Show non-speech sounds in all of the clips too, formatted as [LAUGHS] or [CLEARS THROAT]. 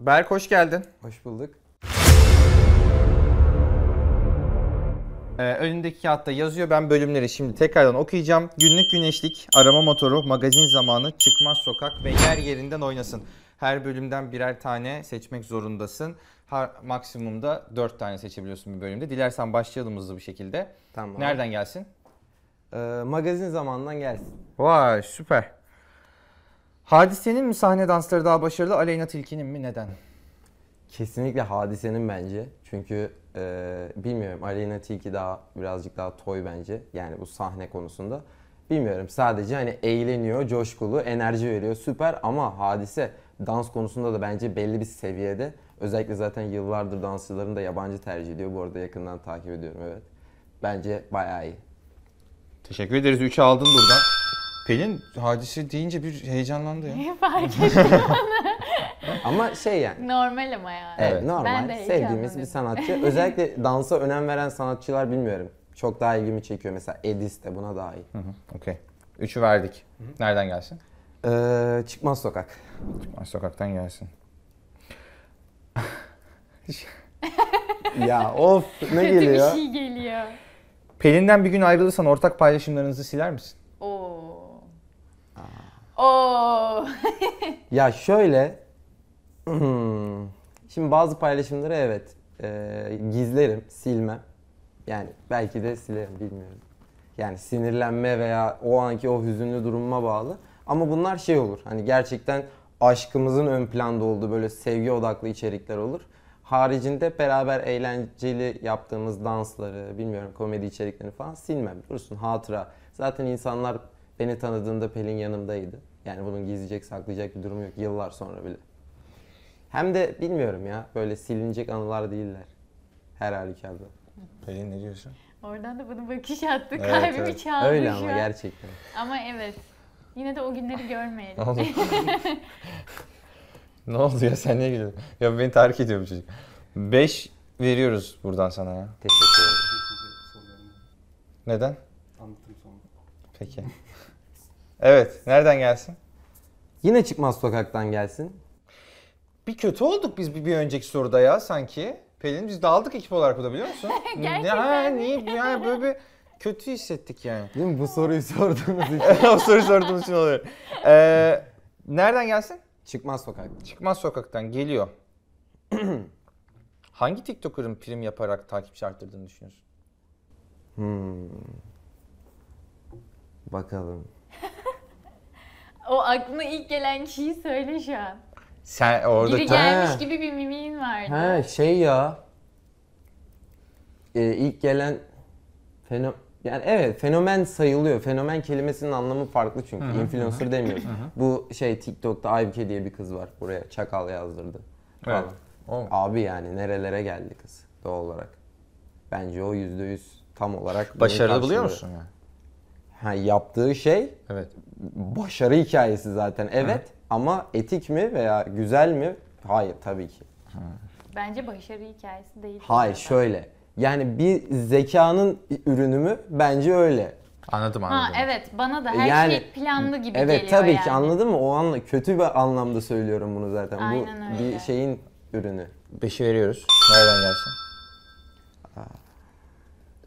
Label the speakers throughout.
Speaker 1: Berk hoş geldin.
Speaker 2: Hoş bulduk.
Speaker 1: Ee, önündeki kağıtta yazıyor. Ben bölümleri şimdi tekrardan okuyacağım. Günlük güneşlik, arama motoru, magazin zamanı, çıkmaz sokak ve yer yerinden oynasın. Her bölümden birer tane seçmek zorundasın. Her, maksimum da 4 tane seçebiliyorsun bir bölümde. Dilersen başlayalım hızlı bir şekilde.
Speaker 2: Tamam.
Speaker 1: Nereden gelsin?
Speaker 2: Ee, magazin zamanından gelsin.
Speaker 1: Vay süper. Hadisenin mi sahne dansları daha başarılı, Aleyna Tilki'nin mi? Neden?
Speaker 2: Kesinlikle hadisenin bence. Çünkü e, bilmiyorum Aleyna Tilki daha birazcık daha toy bence. Yani bu sahne konusunda. Bilmiyorum sadece hani eğleniyor, coşkulu, enerji veriyor süper ama hadise dans konusunda da bence belli bir seviyede. Özellikle zaten yıllardır dansçılarını da yabancı tercih ediyor. Bu arada yakından takip ediyorum evet. Bence bayağı iyi.
Speaker 1: Teşekkür ederiz. 3'ü aldın buradan. Pelin hadise deyince bir heyecanlandı ya.
Speaker 3: Ne
Speaker 2: [LAUGHS]
Speaker 3: fark ettim?
Speaker 2: Ama şey yani
Speaker 3: Normal ama yani.
Speaker 2: Evet,
Speaker 1: Evet.
Speaker 2: normal
Speaker 3: Ben de
Speaker 2: sevdiğimiz
Speaker 3: heyecanlanıyorum.
Speaker 2: bir sanatçı.
Speaker 3: [LAUGHS]
Speaker 2: Özellikle dansa önem veren sanatçılar bilmiyorum. Çok daha ilgimi çekiyor mesela Edis de buna daha iyi.
Speaker 1: Hı hı, Okey. 3'ü verdik. Nereden gelsin?
Speaker 2: Ee, çıkmaz
Speaker 3: [LAUGHS]
Speaker 2: sokak.
Speaker 1: Çıkmaz sokaktan gelsin.
Speaker 2: ya of ne
Speaker 3: Kötü
Speaker 2: geliyor?
Speaker 3: bir şey geliyor.
Speaker 1: Pelin'den bir gün ayrılırsan ortak paylaşımlarınızı siler misin?
Speaker 3: Oo. Oo.
Speaker 2: Ya şöyle. hmm, Şimdi bazı paylaşımları evet ee, gizlerim, silmem. Yani belki de silerim bilmiyorum. Yani sinirlenme veya o anki o hüzünlü durumuma bağlı. Ama bunlar şey olur. Hani gerçekten aşkımızın ön planda olduğu böyle sevgi odaklı içerikler olur. Haricinde beraber eğlenceli yaptığımız dansları, bilmiyorum komedi içeriklerini falan silmem. Dursun hatıra. Zaten insanlar beni tanıdığında Pelin yanımdaydı. Yani bunun gizleyecek, saklayacak bir durum yok yıllar sonra bile. Hem de bilmiyorum ya böyle silinecek anılar değiller. Her halükarda.
Speaker 1: Pelin ne diyorsun? [LAUGHS]
Speaker 3: Oradan da bunu bakış attı.
Speaker 1: Evet,
Speaker 3: Kalbimi
Speaker 1: evet.
Speaker 3: çaldı
Speaker 2: Öyle
Speaker 3: şu
Speaker 2: ama
Speaker 3: an.
Speaker 2: gerçekten.
Speaker 3: Ama evet. Yine de o
Speaker 2: [LAUGHS]
Speaker 3: günleri görmeyelim.
Speaker 1: oldu? ne oldu ya sen niye gülüyorsun? Ya beni tahrik ediyor bu çocuk. 5 veriyoruz buradan sana ya.
Speaker 2: Teşekkür ederim.
Speaker 1: Neden?
Speaker 4: Anlattım sonra.
Speaker 1: Peki. Evet, nereden gelsin?
Speaker 2: Yine çıkmaz sokaktan gelsin.
Speaker 1: Bir kötü olduk biz bir, bir önceki soruda ya sanki. Pelin biz dağıldık ekip olarak bu da biliyor [LAUGHS] musun? Ne, ha, niye, yani böyle bir kötü hissettik yani.
Speaker 2: Değil mi? Bu soruyu [LAUGHS] sorduğunuz için.
Speaker 1: [LAUGHS] o soru sorduğum için oluyor. Ee, nereden gelsin?
Speaker 2: Çıkmaz sokak.
Speaker 1: Çıkmaz sokaktan geliyor. [CLEARS THROAT] Hangi TikToker'ın prim yaparak takipçi arttırdığını düşünüyorsun?
Speaker 2: Hmm. Bakalım.
Speaker 3: O aklına ilk gelen kişiyi söyle şu an.
Speaker 1: Sen orada
Speaker 3: Biri
Speaker 1: ta-
Speaker 2: Ha.
Speaker 3: gelmiş gibi bir mimiğin vardı.
Speaker 2: He şey ya. Ee, ilk gelen feno yani evet fenomen sayılıyor. Fenomen kelimesinin anlamı farklı çünkü. Influencer demiyoruz. Bu şey TikTok'ta Aybike diye bir kız var. Buraya çakal yazdırdı.
Speaker 1: Evet.
Speaker 2: falan.
Speaker 1: O-
Speaker 2: Abi yani nerelere geldi kız doğal olarak. Bence o yüzde yüz tam olarak bunu
Speaker 1: Başarılı buluyor
Speaker 2: karşılıyor.
Speaker 1: musun yani?
Speaker 2: Ha, yaptığı şey
Speaker 1: Evet.
Speaker 2: başarı hikayesi zaten. Evet ama etik mi veya güzel mi? Hayır tabii ki.
Speaker 3: Bence başarı hikayesi değil.
Speaker 2: Hayır şöyle. Yani bir zekanın ürünü mü? Bence öyle.
Speaker 1: Anladım
Speaker 3: Ha
Speaker 1: anladım.
Speaker 3: evet bana da her
Speaker 2: E, Yani-
Speaker 3: şey planlı gibi
Speaker 2: evet
Speaker 3: geliyor
Speaker 2: tabii
Speaker 3: yani.
Speaker 2: ki anladın mı? O anla kötü bir anlamda söylüyorum bunu zaten.
Speaker 3: Aynen
Speaker 2: Bu bir
Speaker 3: öyle.
Speaker 2: şeyin ürünü.
Speaker 1: Beşi veriyoruz. Nereden gelsin?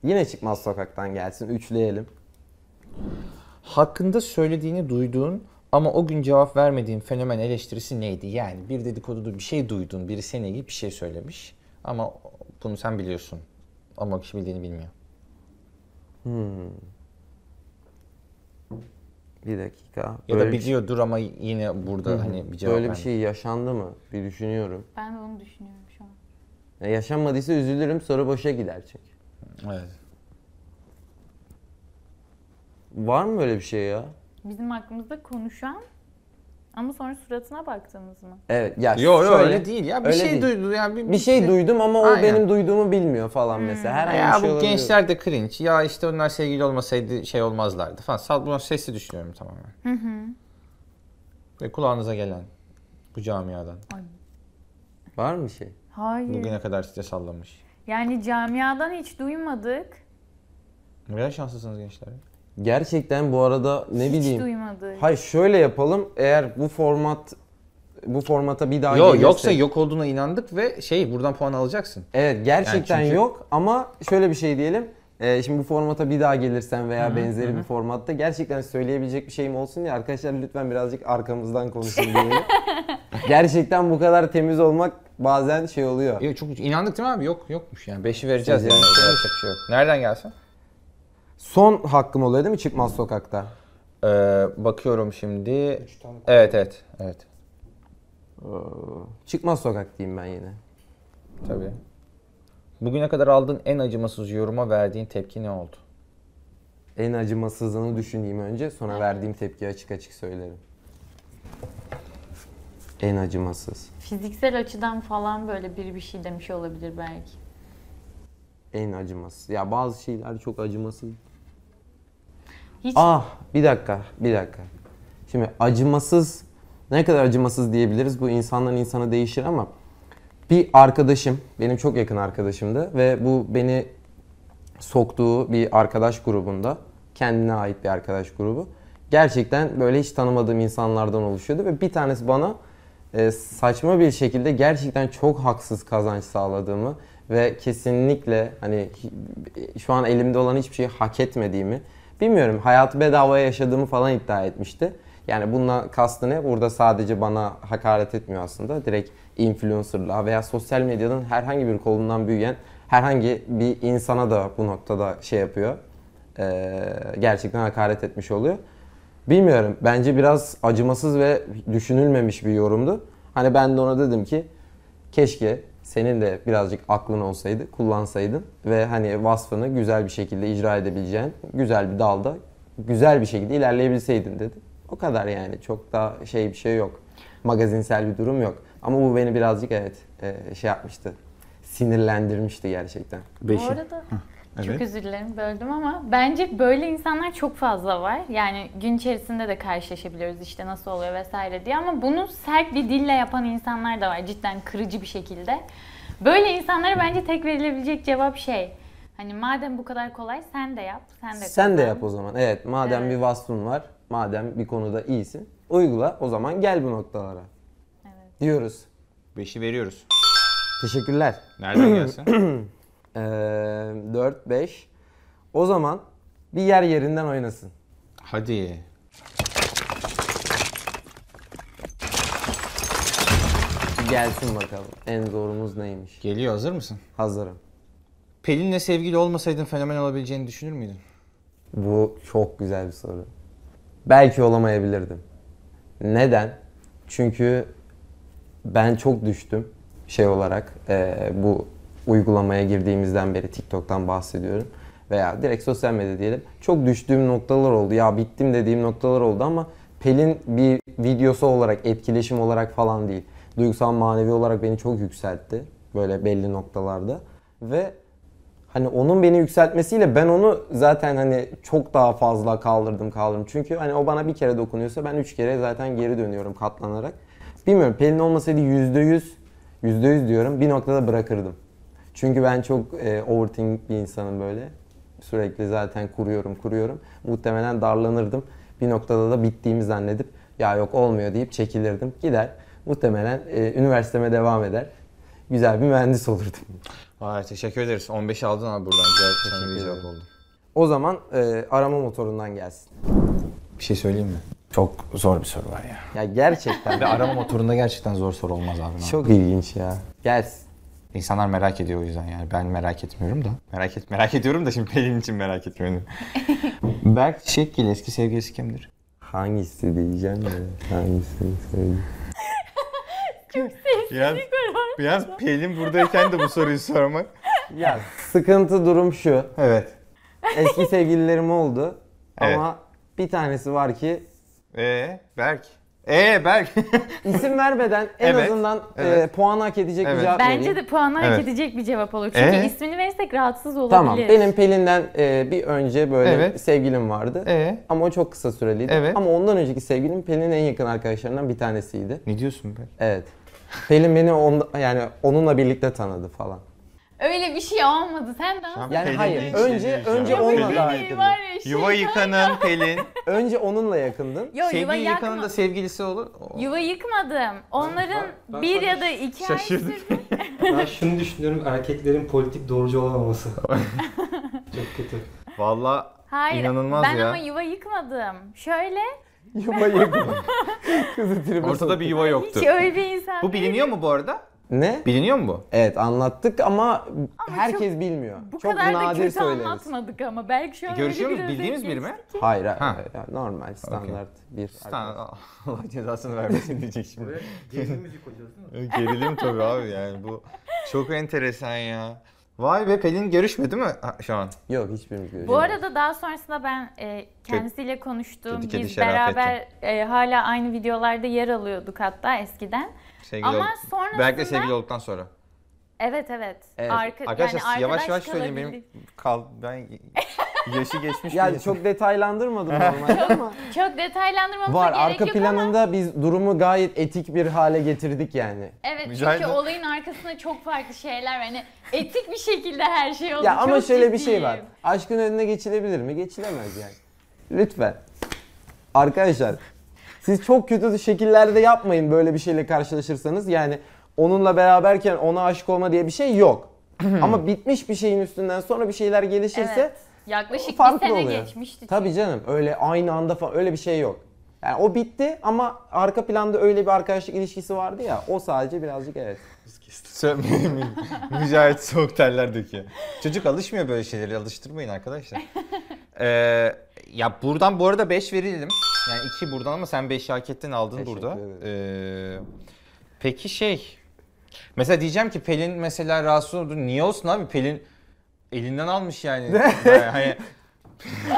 Speaker 2: Yine çıkmaz sokaktan gelsin. Üçleyelim.
Speaker 1: Hakkında söylediğini duyduğun ama o gün cevap vermediğin fenomen eleştirisi neydi? Yani bir dedikoduda bir şey duydun, biri seninle ilgili bir şey söylemiş ama bunu sen biliyorsun ama o kişi bildiğini bilmiyor.
Speaker 2: Bir dakika.
Speaker 1: Ya da
Speaker 2: Böyle-
Speaker 1: biliyordur ama yine burada hani bir cevap
Speaker 2: Böyle bir
Speaker 1: vermiyor.
Speaker 2: şey yaşandı mı? Bir düşünüyorum.
Speaker 3: Ben de onu düşünüyorum şu an.
Speaker 2: Ya yaşanmadıysa üzülürüm. Soru boşa gider çünkü. şey-
Speaker 1: Evet.
Speaker 2: Var mı böyle bir şey ya?
Speaker 3: Bizim aklımızda konuşan ama sonra suratına baktınız mı?
Speaker 2: Evet. Ya
Speaker 1: Yok yok
Speaker 2: şöyle-
Speaker 1: öyle değil ya. Bir
Speaker 2: öyle
Speaker 1: şey
Speaker 2: değil.
Speaker 1: duydu yani. Bir,
Speaker 2: Bir şey duydum ama o
Speaker 1: Aynen. Hmm.
Speaker 2: benim duyduğumu bilmiyor falan mesela. Her an
Speaker 1: Ya
Speaker 2: bir şey
Speaker 1: bu
Speaker 2: olabiliyor.
Speaker 1: gençler de cringe. Ya işte onlar sevgili olmasaydı şey olmazlardı falan. Sal bunu sesli düşünüyorum tamamen. Hı hı. Ve kulağınıza gelen bu camiadan.
Speaker 2: Var mı bir şey?
Speaker 3: Hayır.
Speaker 1: Bugüne kadar size sallamış.
Speaker 3: Yani camiadan hiç duymadık.
Speaker 1: Ne kadar şanslısınız gençler.
Speaker 2: Gerçekten bu arada ne
Speaker 3: hiç
Speaker 2: bileyim.
Speaker 3: duymadık.
Speaker 2: Hayır şöyle yapalım. Eğer bu format e, bu formata bir daha
Speaker 1: Yo,
Speaker 2: gelirsek-
Speaker 1: yoksa yok olduğuna inandık ve şey buradan puan alacaksın.
Speaker 2: Evet gerçekten
Speaker 1: Yani çünkü-
Speaker 2: yok ama şöyle bir şey diyelim. Ee, şimdi bu formata bir daha gelirsen veya benzeri bir formatta gerçekten söyleyebilecek bir şeyim olsun diye arkadaşlar lütfen birazcık arkamızdan konuşun diyelim.
Speaker 1: [LAUGHS]
Speaker 2: gerçekten bu kadar temiz olmak bazen şey oluyor.
Speaker 1: Yok çok inandık değil mi abi? Yok yokmuş yani. Beşi vereceğiz
Speaker 2: Vereceğiz.
Speaker 1: yani. Yapacak bir şey yok. Nereden gelsin?
Speaker 2: Son hakkım oluyor değil mi çıkmaz sokakta?
Speaker 1: Ee, bakıyorum şimdi. Evet evet. Evet.
Speaker 2: Çıkmaz sokak diyeyim ben yine.
Speaker 1: Tabii. Bugüne kadar aldığın en acımasız yoruma verdiğin tepki ne oldu?
Speaker 2: En acımasızlığını düşüneyim önce sonra verdiğim tepkiyi açık açık söylerim. En acımasız.
Speaker 3: Fiziksel açıdan falan böyle biri bir şey demiş olabilir belki.
Speaker 2: En acımasız. Ya bazı şeyler çok acımasız.
Speaker 3: Hiç
Speaker 2: Ah bir dakika bir dakika. Şimdi acımasız ne kadar acımasız diyebiliriz bu insandan insana değişir ama bir arkadaşım benim çok yakın arkadaşımdı ve bu beni soktuğu bir arkadaş grubunda kendine ait bir arkadaş grubu. Gerçekten böyle hiç tanımadığım insanlardan oluşuyordu ve bir tanesi bana e, saçma bir şekilde gerçekten çok haksız kazanç sağladığımı ve kesinlikle hani hi- şu an elimde olan hiçbir şeyi hak etmediğimi bilmiyorum hayatı bedavaya yaşadığımı falan iddia etmişti. Yani bununla kastı ne? Burada sadece bana hakaret etmiyor aslında. Direkt influencerlığa veya sosyal medyanın herhangi bir kolundan büyüyen herhangi bir insana da bu noktada şey yapıyor. Ee, gerçekten hakaret etmiş oluyor. Bilmiyorum. Bence biraz acımasız ve düşünülmemiş bir yorumdu. Hani ben de ona dedim ki keşke senin de birazcık aklın olsaydı, kullansaydın ve hani vasfını güzel bir şekilde icra edebileceğin güzel bir dalda güzel bir şekilde ilerleyebilseydin dedi. O kadar yani. Çok da şey bir şey yok. Magazinsel bir durum yok. Ama bu beni birazcık evet e, şey yapmıştı. Sinirlendirmişti gerçekten.
Speaker 3: bu arada çok
Speaker 4: evet.
Speaker 3: özür dilerim böldüm ama bence böyle insanlar çok fazla var. Yani gün içerisinde de karşılaşabiliyoruz işte nasıl oluyor vesaire diye ama bunu sert bir dille yapan insanlar da var cidden kırıcı bir şekilde. Böyle insanlara bence tek verilebilecek cevap şey. Hani madem bu kadar kolay sen de yap, sen de
Speaker 2: Sen de
Speaker 3: kazan.
Speaker 2: yap o zaman. Evet madem
Speaker 3: Evet.
Speaker 2: bir vasfın var, madem bir konuda iyisin uygula o zaman gel bu noktalara
Speaker 3: Evet.
Speaker 2: diyoruz.
Speaker 1: Beşi veriyoruz.
Speaker 2: Teşekkürler.
Speaker 1: Nereden gelsin?
Speaker 2: Ee, 4-5. O zaman bir yer yerinden oynasın.
Speaker 1: [CLEARS THROAT] Hadi.
Speaker 2: Bir Gelsin bakalım. En zorumuz neymiş?
Speaker 1: Geliyor hazır mısın?
Speaker 2: Hazırım.
Speaker 1: Pelin'le sevgili olmasaydın fenomen olabileceğini düşünür müydün?
Speaker 2: Bu çok güzel bir soru. Belki olamayabilirdim. Neden? Çünkü ben çok düştüm şey olarak eee, bu uygulamaya girdiğimizden beri TikTok'tan bahsediyorum veya direkt sosyal medya diyelim. Çok düştüğüm noktalar oldu. Ya bittim dediğim noktalar oldu ama Pelin bir videosu olarak, etkileşim olarak falan değil. Duygusal manevi olarak beni çok yükseltti böyle belli noktalarda ve hani onun beni yükseltmesiyle ben onu zaten hani çok daha fazla kaldırdım kaldırdım. Çünkü hani o bana bir kere dokunuyorsa ben üç kere zaten geri dönüyorum katlanarak. Bilmiyorum Pelin olmasaydı yüzde yüz, yüzde yüz diyorum bir noktada bırakırdım. Çünkü ben çok e, overthink bir insanım böyle. Sürekli zaten kuruyorum kuruyorum. Muhtemelen darlanırdım. Bir noktada da bittiğimi zannedip ya yok olmuyor deyip çekilirdim. Gider muhtemelen e, üniversiteme devam eder. Güzel bir mühendis olurdum.
Speaker 1: Vay teşekkür ederiz. 15 aldın abi buradan. Güzel sana bir cevap oldu.
Speaker 2: O zaman e, arama motorundan gelsin.
Speaker 1: Bir şey söyleyeyim mi?
Speaker 4: Çok zor bir soru var ya.
Speaker 2: Ya gerçekten [LAUGHS]
Speaker 1: Ve arama motorunda gerçekten zor soru olmaz abi.
Speaker 2: çok ilginç ya. Gelsin.
Speaker 1: İnsanlar merak ediyor o yüzden yani. Ben merak etmiyorum da. Merak et merak ediyorum da şimdi Pelin için merak etmiyorum. Berk Çiçekgil eski sevgilisi kimdir?
Speaker 2: Hangisi diyeceğim de hangisini söyleyeyim.
Speaker 1: Biraz,
Speaker 3: [LAUGHS]
Speaker 1: biraz Pelin buradayken de bu soruyu sormak.
Speaker 2: Ya sıkıntı durum şu.
Speaker 1: Evet. [LAUGHS]
Speaker 2: Eski sevgililerim oldu ama
Speaker 1: Evet.
Speaker 2: bir tanesi var ki
Speaker 1: Ee Berk. Ee Berk.
Speaker 2: isim vermeden en
Speaker 1: Evet,
Speaker 2: azından
Speaker 1: evet.
Speaker 2: e, puan hak edecek
Speaker 1: Evet.
Speaker 2: bir cevap
Speaker 3: Bence
Speaker 2: vereyim.
Speaker 3: de puanı hak
Speaker 1: Evet.
Speaker 3: edecek bir cevap olur. Çünkü
Speaker 1: Ee?
Speaker 3: ismini verirsek rahatsız olabilir.
Speaker 2: Tamam. Benim Pelin'den e, bir önce böyle
Speaker 1: Evet.
Speaker 2: sevgilim vardı.
Speaker 1: [LAUGHS] Ee?
Speaker 2: Ama o çok kısa süreliydi.
Speaker 1: Evet.
Speaker 2: Ama ondan önceki sevgilim Pelin'in en yakın arkadaşlarından bir tanesiydi.
Speaker 1: ne diyorsun Berk?
Speaker 2: Evet. Pelin beni onda, yani onunla birlikte tanıdı falan.
Speaker 3: Öyle bir şey olmadı. Sen dans
Speaker 1: Tamam.
Speaker 2: Yani
Speaker 1: Pelin
Speaker 2: hayır.
Speaker 1: değil,
Speaker 2: Önce
Speaker 1: Pelin
Speaker 2: önce
Speaker 1: değil.
Speaker 2: onunla daha
Speaker 1: Pelin
Speaker 3: Dediği var
Speaker 2: yakındın.
Speaker 3: ya, şey
Speaker 1: Yuva yıkanın Pelin.
Speaker 2: Önce onunla
Speaker 3: [LAUGHS]
Speaker 2: yakındın.
Speaker 3: Yo, yuva
Speaker 1: Sevgili yıkanın
Speaker 3: yakma.
Speaker 1: da sevgilisi olur. O-
Speaker 3: Yuva yıkmadım. Onların
Speaker 5: ben
Speaker 3: bir
Speaker 5: sana
Speaker 3: ya da iki ay
Speaker 1: şaşırdım.
Speaker 3: sürdü.
Speaker 5: Ben şunu düşünüyorum erkeklerin politik doğrucu olamaması. [LAUGHS] Çok kötü.
Speaker 1: Valla
Speaker 3: Hayır.
Speaker 1: İnanılmaz
Speaker 3: ben
Speaker 1: ya.
Speaker 3: ama yuva yıkmadım. Şöyle
Speaker 2: Yuva yakın. [LAUGHS] Kızı tribe
Speaker 1: ortada
Speaker 2: soktu.
Speaker 1: bir yuva yoktu.
Speaker 3: hiç öyle bir insan
Speaker 1: Bu
Speaker 3: değilim.
Speaker 1: biliniyor mu bu arada?
Speaker 2: Ne?
Speaker 1: Biliniyor mu bu?
Speaker 2: Evet anlattık ama,
Speaker 3: Ama
Speaker 2: herkes bilmiyor.
Speaker 3: Bu
Speaker 2: çok
Speaker 3: kadar da
Speaker 2: nadir
Speaker 3: kötü
Speaker 2: söyleriz.
Speaker 3: anlatmadık ama. Belki şu an
Speaker 1: Görüşüyor
Speaker 3: öyle bir
Speaker 1: muyuz? Bildiğiniz biri
Speaker 3: özet
Speaker 1: mi?
Speaker 3: geçti ki.
Speaker 2: Hayır, hayır,
Speaker 1: Ha.
Speaker 2: hayır, normal standart bir arkadaş.
Speaker 1: Tamam, Allah cezasını vermesin diyecek şimdi.
Speaker 5: Gerilim müzik hocası değil mi?
Speaker 1: Ee, Gerilim tabii abi yani bu çok enteresan ya. Vay be Pelin görüşmedi mi ha, şu an?
Speaker 2: Yok hiçbirimiz görüşmedik.
Speaker 3: Bu arada daha sonrasında ben e, kendisiyle konuştuğum,
Speaker 1: Kedi kedi
Speaker 3: biz
Speaker 1: şerafettin.
Speaker 3: beraber e, hala aynı videolarda yer alıyorduk hatta eskiden.
Speaker 1: Sevgili
Speaker 3: Ama
Speaker 1: ol-
Speaker 3: sonrasında-
Speaker 1: Berk'le sevgili olduktan sonra.
Speaker 3: Evet evet.
Speaker 2: Evet.
Speaker 3: Arka-
Speaker 1: Arkadaşlar
Speaker 3: yani
Speaker 1: yavaş
Speaker 3: arkadaş
Speaker 1: yavaş söyleyin benim
Speaker 3: kalabildik.
Speaker 1: kal ben [LAUGHS] yaşı geçmiş
Speaker 2: Yani
Speaker 1: bir- [LAUGHS]
Speaker 2: çok detaylandırmadım normalde ama.
Speaker 3: Çok detaylandırmamıza
Speaker 2: Var
Speaker 3: gerek
Speaker 2: arka
Speaker 3: yok ama
Speaker 2: planında biz durumu gayet etik bir hale getirdik yani.
Speaker 3: evet
Speaker 1: Rica
Speaker 3: çünkü
Speaker 1: ederim.
Speaker 3: olayın arkasında çok farklı şeyler var. Hani etik bir şekilde her şey oldu.
Speaker 2: Ya ama
Speaker 3: Çok
Speaker 2: şöyle bir şey
Speaker 3: ciddiyim.
Speaker 2: var. Aşkın önüne geçilebilir mi? Geçilemez yani. Lütfen. Arkadaşlar siz çok kötü şekillerde yapmayın böyle bir şeyle karşılaşırsanız. Yani onunla beraberken ona aşık olma diye bir şey yok. ama bitmiş bir şeyin üstünden sonra bir şeyler gelişirse
Speaker 3: Evet. Yaklaşık bir
Speaker 2: farklı
Speaker 3: sene
Speaker 2: oluyor.
Speaker 3: geçmişti.
Speaker 2: Tabii canım öyle aynı anda falan öyle bir şey yok. Yani o bitti ama arka planda öyle bir arkadaşlık ilişkisi vardı ya o sadece birazcık evet.
Speaker 1: Sö- Mücahit soğuk terler döküyor. Çocuk alışmıyor böyle şeylere alıştırmayın
Speaker 3: [LAUGHS]
Speaker 1: arkadaşlar. Ee, ya buradan bu arada 5 verelim. Yani 2 buradan ama sen 5'i hak ettin aldın
Speaker 2: Teşekkür
Speaker 1: burada. Ee, peki şey. Mesela diyeceğim ki Pelin mesela rahatsız oldu. Niye olsun abi Pelin elinden almış yani. yani hani,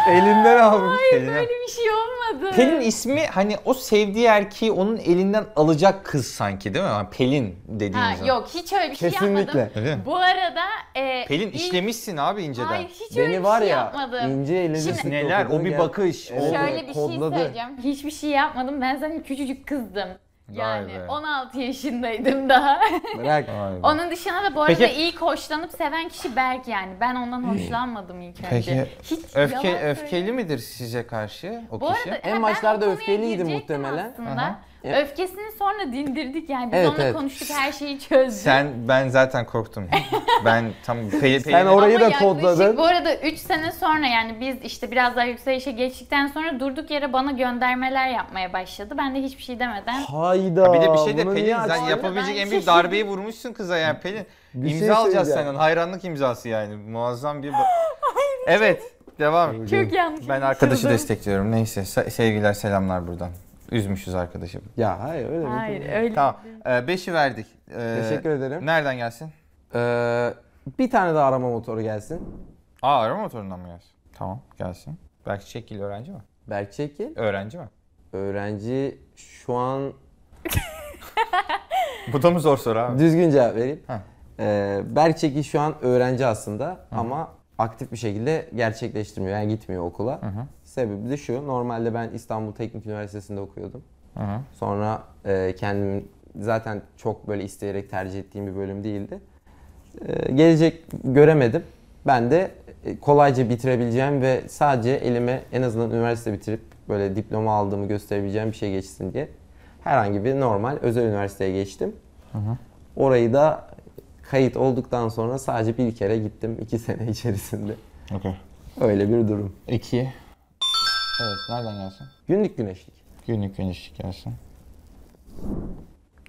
Speaker 2: Elinden almış.
Speaker 1: [LAUGHS] Pelin'e-
Speaker 3: Böyle bir şey olmadı.
Speaker 1: Pelin ismi hani o sevdiği erkeği onun elinden alacak kız sanki değil mi? Yani Pelin dediğimiz.
Speaker 3: Ha,
Speaker 1: zaman.
Speaker 3: yok hiç öyle bir şey
Speaker 2: Kesinlikle.
Speaker 3: yapmadım.
Speaker 1: Öyle mi?
Speaker 3: Bu arada e,
Speaker 1: Pelin
Speaker 3: ilk-
Speaker 1: işlemişsin abi inceden.
Speaker 3: Hayır hiç öyle
Speaker 2: Beni
Speaker 3: bir
Speaker 2: var
Speaker 3: şey
Speaker 2: ya
Speaker 3: yapmadım.
Speaker 2: ince elini
Speaker 3: Şimdi-
Speaker 2: sıktı
Speaker 1: Neler
Speaker 2: kadın
Speaker 1: o bir
Speaker 2: gel-
Speaker 1: bakış.
Speaker 2: Evet,
Speaker 1: o...
Speaker 3: Şöyle bir
Speaker 2: kodladı.
Speaker 3: şey söyleyeceğim. Hiçbir şey yapmadım. Ben zaten küçücük kızdım. Yani
Speaker 1: be.
Speaker 3: 16 yaşındaydım daha.
Speaker 2: Bırak.
Speaker 1: Vay be.
Speaker 3: Onun dışında da bu arada
Speaker 1: Peki-
Speaker 3: ilk hoşlanıp seven kişi Berk yani. Ben ondan hoşlanmadım ilk önce.
Speaker 1: Peki,
Speaker 3: Hiç
Speaker 1: Öfke
Speaker 3: yalan
Speaker 1: öfkeli
Speaker 3: söyleyemem.
Speaker 1: midir size karşı o
Speaker 3: Bu
Speaker 1: kişi?
Speaker 3: arada
Speaker 2: En
Speaker 3: ha, ben
Speaker 2: başlarda
Speaker 3: o konuya
Speaker 2: öfkeliydi
Speaker 3: girecektim
Speaker 2: muhtemelen.
Speaker 3: aslında.
Speaker 1: Aha.
Speaker 3: Öfkesini sonra dindirdik yani. Biz
Speaker 2: Evet,
Speaker 3: onunla
Speaker 2: evet.
Speaker 3: konuştuk her şeyi çözdük.
Speaker 1: Sen ben zaten
Speaker 2: [LAUGHS]
Speaker 1: korktum. ben tam Pel-
Speaker 2: Sen
Speaker 1: Pelin'e-
Speaker 2: orayı
Speaker 3: Ama
Speaker 2: da
Speaker 3: yaklaşık
Speaker 2: kodladın.
Speaker 3: Bu arada 3 sene sonra yani biz işte biraz daha yükselişe geçtikten sonra durduk yere bana göndermeler yapmaya başladı. Ben de hiçbir şey demeden
Speaker 2: Hayda.
Speaker 1: bir de bir şey de
Speaker 2: bunu
Speaker 1: Pelin
Speaker 2: niye
Speaker 1: sen
Speaker 2: açtın?
Speaker 3: yap-
Speaker 1: yapabilecek
Speaker 3: Ben
Speaker 1: en büyük
Speaker 3: şaşırdım.
Speaker 1: darbeyi vurmuşsun kıza yani Pelin.
Speaker 2: Bir şey
Speaker 1: İmza alacağız
Speaker 2: söyleyeceğim.
Speaker 1: senden. Hayranlık imzası yani. Muazzam
Speaker 2: [LAUGHS]
Speaker 1: bir
Speaker 2: şey
Speaker 1: Evet, devam.
Speaker 3: çok yanlış.
Speaker 1: Ben arkadaşı
Speaker 3: anlaşıldım.
Speaker 1: destekliyorum. Neyse se- sevgiler selamlar buradan. Üzmüşüz arkadaşı.
Speaker 2: Ya hayır öyle bir
Speaker 3: Hayır
Speaker 2: şey.
Speaker 3: öyle.
Speaker 1: Tamam. 5'i verdik. Ee,
Speaker 2: Teşekkür ederim.
Speaker 1: Nereden gelsin?
Speaker 2: Ee, bir tane daha arama motoru gelsin.
Speaker 1: Aa arama motorundan mı gelsin? Tamam gelsin. Belki şekil öğrenci mi?
Speaker 2: Berk Çekil.
Speaker 1: Öğrenci mi?
Speaker 2: Öğrenci şu an
Speaker 1: Bu da mı zor soru abi?
Speaker 2: düzgün cevap vereyim.
Speaker 1: Ha.
Speaker 2: Ee, Berk Çekil şu an öğrenci aslında ama aktif bir şekilde gerçekleştirmiyor. Yani gitmiyor okula. Sebebi de şu. Normalde ben İstanbul Teknik Üniversitesi'nde okuyordum.
Speaker 1: Hı hı.
Speaker 2: Sonra e, kendim zaten çok böyle isteyerek tercih ettiğim bir bölüm değildi. E, gelecek göremedim. Ben de e, kolayca bitirebileceğim ve sadece elime en azından üniversite bitirip böyle diploma aldığımı gösterebileceğim bir şey geçsin diye herhangi bir normal özel üniversiteye geçtim. Orayı da kayıt olduktan sonra sadece bir kere gittim iki [LAUGHS] sene içerisinde.
Speaker 1: Okey.
Speaker 2: Öyle bir durum.
Speaker 1: İki. Evet nereden gelsin?
Speaker 2: Günlük güneşlik.
Speaker 1: Günlük güneşlik gelsin.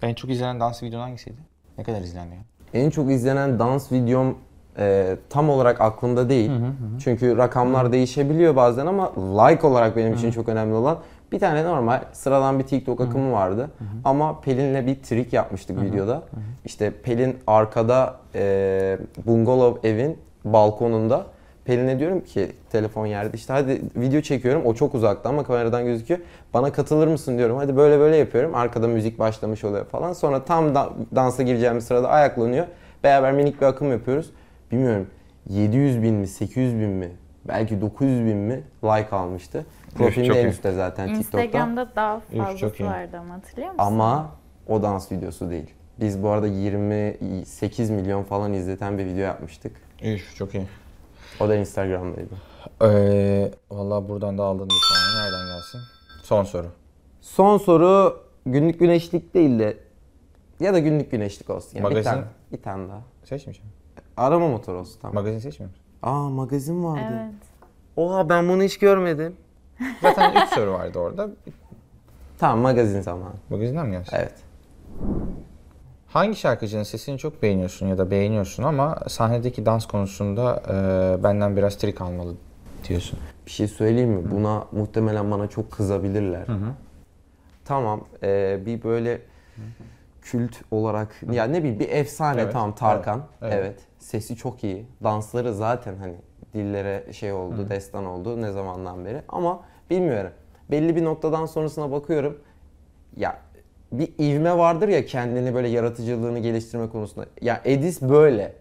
Speaker 1: En çok izlenen dans videon hangisiydi? Ne kadar izlendi ya?
Speaker 2: En çok izlenen dans videom e, tam olarak aklımda değil. Çünkü rakamlar değişebiliyor bazen ama like olarak benim için çok önemli olan bir tane normal sıradan bir TikTok akımı vardı. Ama Pelin'le bir trik yapmıştık videoda. İşte Pelin arkada e, bungalov evin balkonunda. Pelin'e diyorum ki telefon yerde işte hadi video çekiyorum o çok uzakta ama kameradan gözüküyor. Bana katılır mısın diyorum hadi böyle böyle yapıyorum arkada müzik başlamış oluyor falan. Sonra tam da- dansa gireceğim sırada ayaklanıyor. Beraber minik bir akım yapıyoruz. Bilmiyorum 700 bin mi 800 bin mi belki 900 bin mi like almıştı. Profilim
Speaker 1: çok
Speaker 2: en
Speaker 1: iyi.
Speaker 2: üstte zaten TikTok'ta
Speaker 3: Instagram'da daha
Speaker 1: Üf, çok
Speaker 3: fazlası
Speaker 1: iyi.
Speaker 3: vardı ama hatırlıyor musun?
Speaker 2: ama o dans videosu değil. Biz bu arada 28 milyon falan izleten bir video yapmıştık.
Speaker 4: Üf çok iyi.
Speaker 2: O da Instagram'daydı.
Speaker 4: Ee, Valla buradan da aldın bir tane. Nereden gelsin? Son soru.
Speaker 2: Son soru günlük güneşlik değil de ya da günlük güneşlik olsun. Yani
Speaker 4: Magazin.
Speaker 2: Bir tane, bir tane daha.
Speaker 4: Seçmeyeceğim.
Speaker 2: Arama motoru olsun tamam.
Speaker 4: Magazin seçmiyor musun?
Speaker 2: Aa magazin vardı.
Speaker 3: Evet.
Speaker 2: Oha ben bunu hiç görmedim.
Speaker 4: Zaten 3 soru vardı orada.
Speaker 2: Tamam magazin zamanı.
Speaker 4: Magazinden mi gelsin?
Speaker 2: Evet.
Speaker 4: Hangi şarkıcının sesini çok beğeniyorsun ya da beğeniyorsun ama sahnedeki dans konusunda e, benden biraz trik almalı diyorsun?
Speaker 2: Bir şey söyleyeyim mi? Buna muhtemelen bana çok kızabilirler. Tamam ee, bir böyle kült olarak ya ne bileyim bir efsane
Speaker 4: Evet,
Speaker 2: tamam Tarkan.
Speaker 4: evet,
Speaker 2: Evet.
Speaker 4: evet.
Speaker 2: Sesi çok iyi. Dansları zaten hani dillere şey oldu, destan oldu ne zamandan beri ama bilmiyorum. Belli bir noktadan sonrasına bakıyorum. Ya bir ivme vardır ya kendini böyle yaratıcılığını geliştirme konusunda. Ya Edis böyle.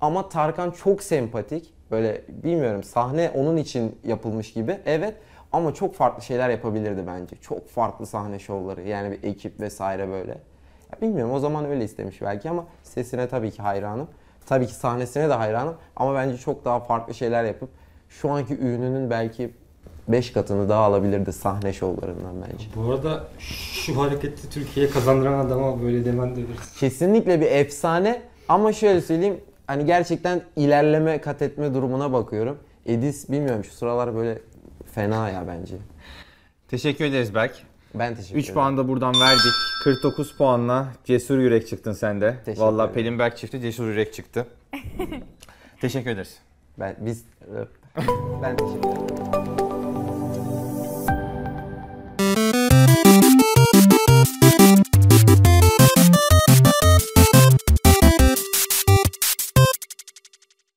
Speaker 2: Ama Tarkan çok sempatik. Böyle bilmiyorum sahne onun için yapılmış gibi. Evet ama çok farklı şeyler yapabilirdi bence. Çok farklı sahne şovları yani bir ekip vesaire böyle. Ya bilmiyorum o zaman öyle istemiş belki ama sesine tabii ki hayranım. Tabii ki sahnesine de hayranım ama bence çok daha farklı şeyler yapıp şu anki ününün belki 5 katını daha alabilirdi sahne şovlarından bence.
Speaker 5: Bu arada şu hareketi Türkiye'ye kazandıran adama böyle demen de bir
Speaker 2: Kesinlikle bir efsane ama şöyle söyleyeyim hani gerçekten ilerleme kat etme durumuna bakıyorum. Edis bilmiyorum şu sıralar böyle fena ya bence.
Speaker 1: Teşekkür ederiz Berk.
Speaker 2: Ben teşekkür
Speaker 1: 3
Speaker 2: ederim.
Speaker 1: puan da buradan verdik. 49 puanla cesur yürek çıktın sen de.
Speaker 2: Teşekkür
Speaker 1: Vallahi
Speaker 2: ederim.
Speaker 1: Pelin Berk çifti cesur yürek
Speaker 2: [LAUGHS]
Speaker 1: çıktı. Teşekkür ederiz.
Speaker 2: Ben biz ben teşekkür ederim.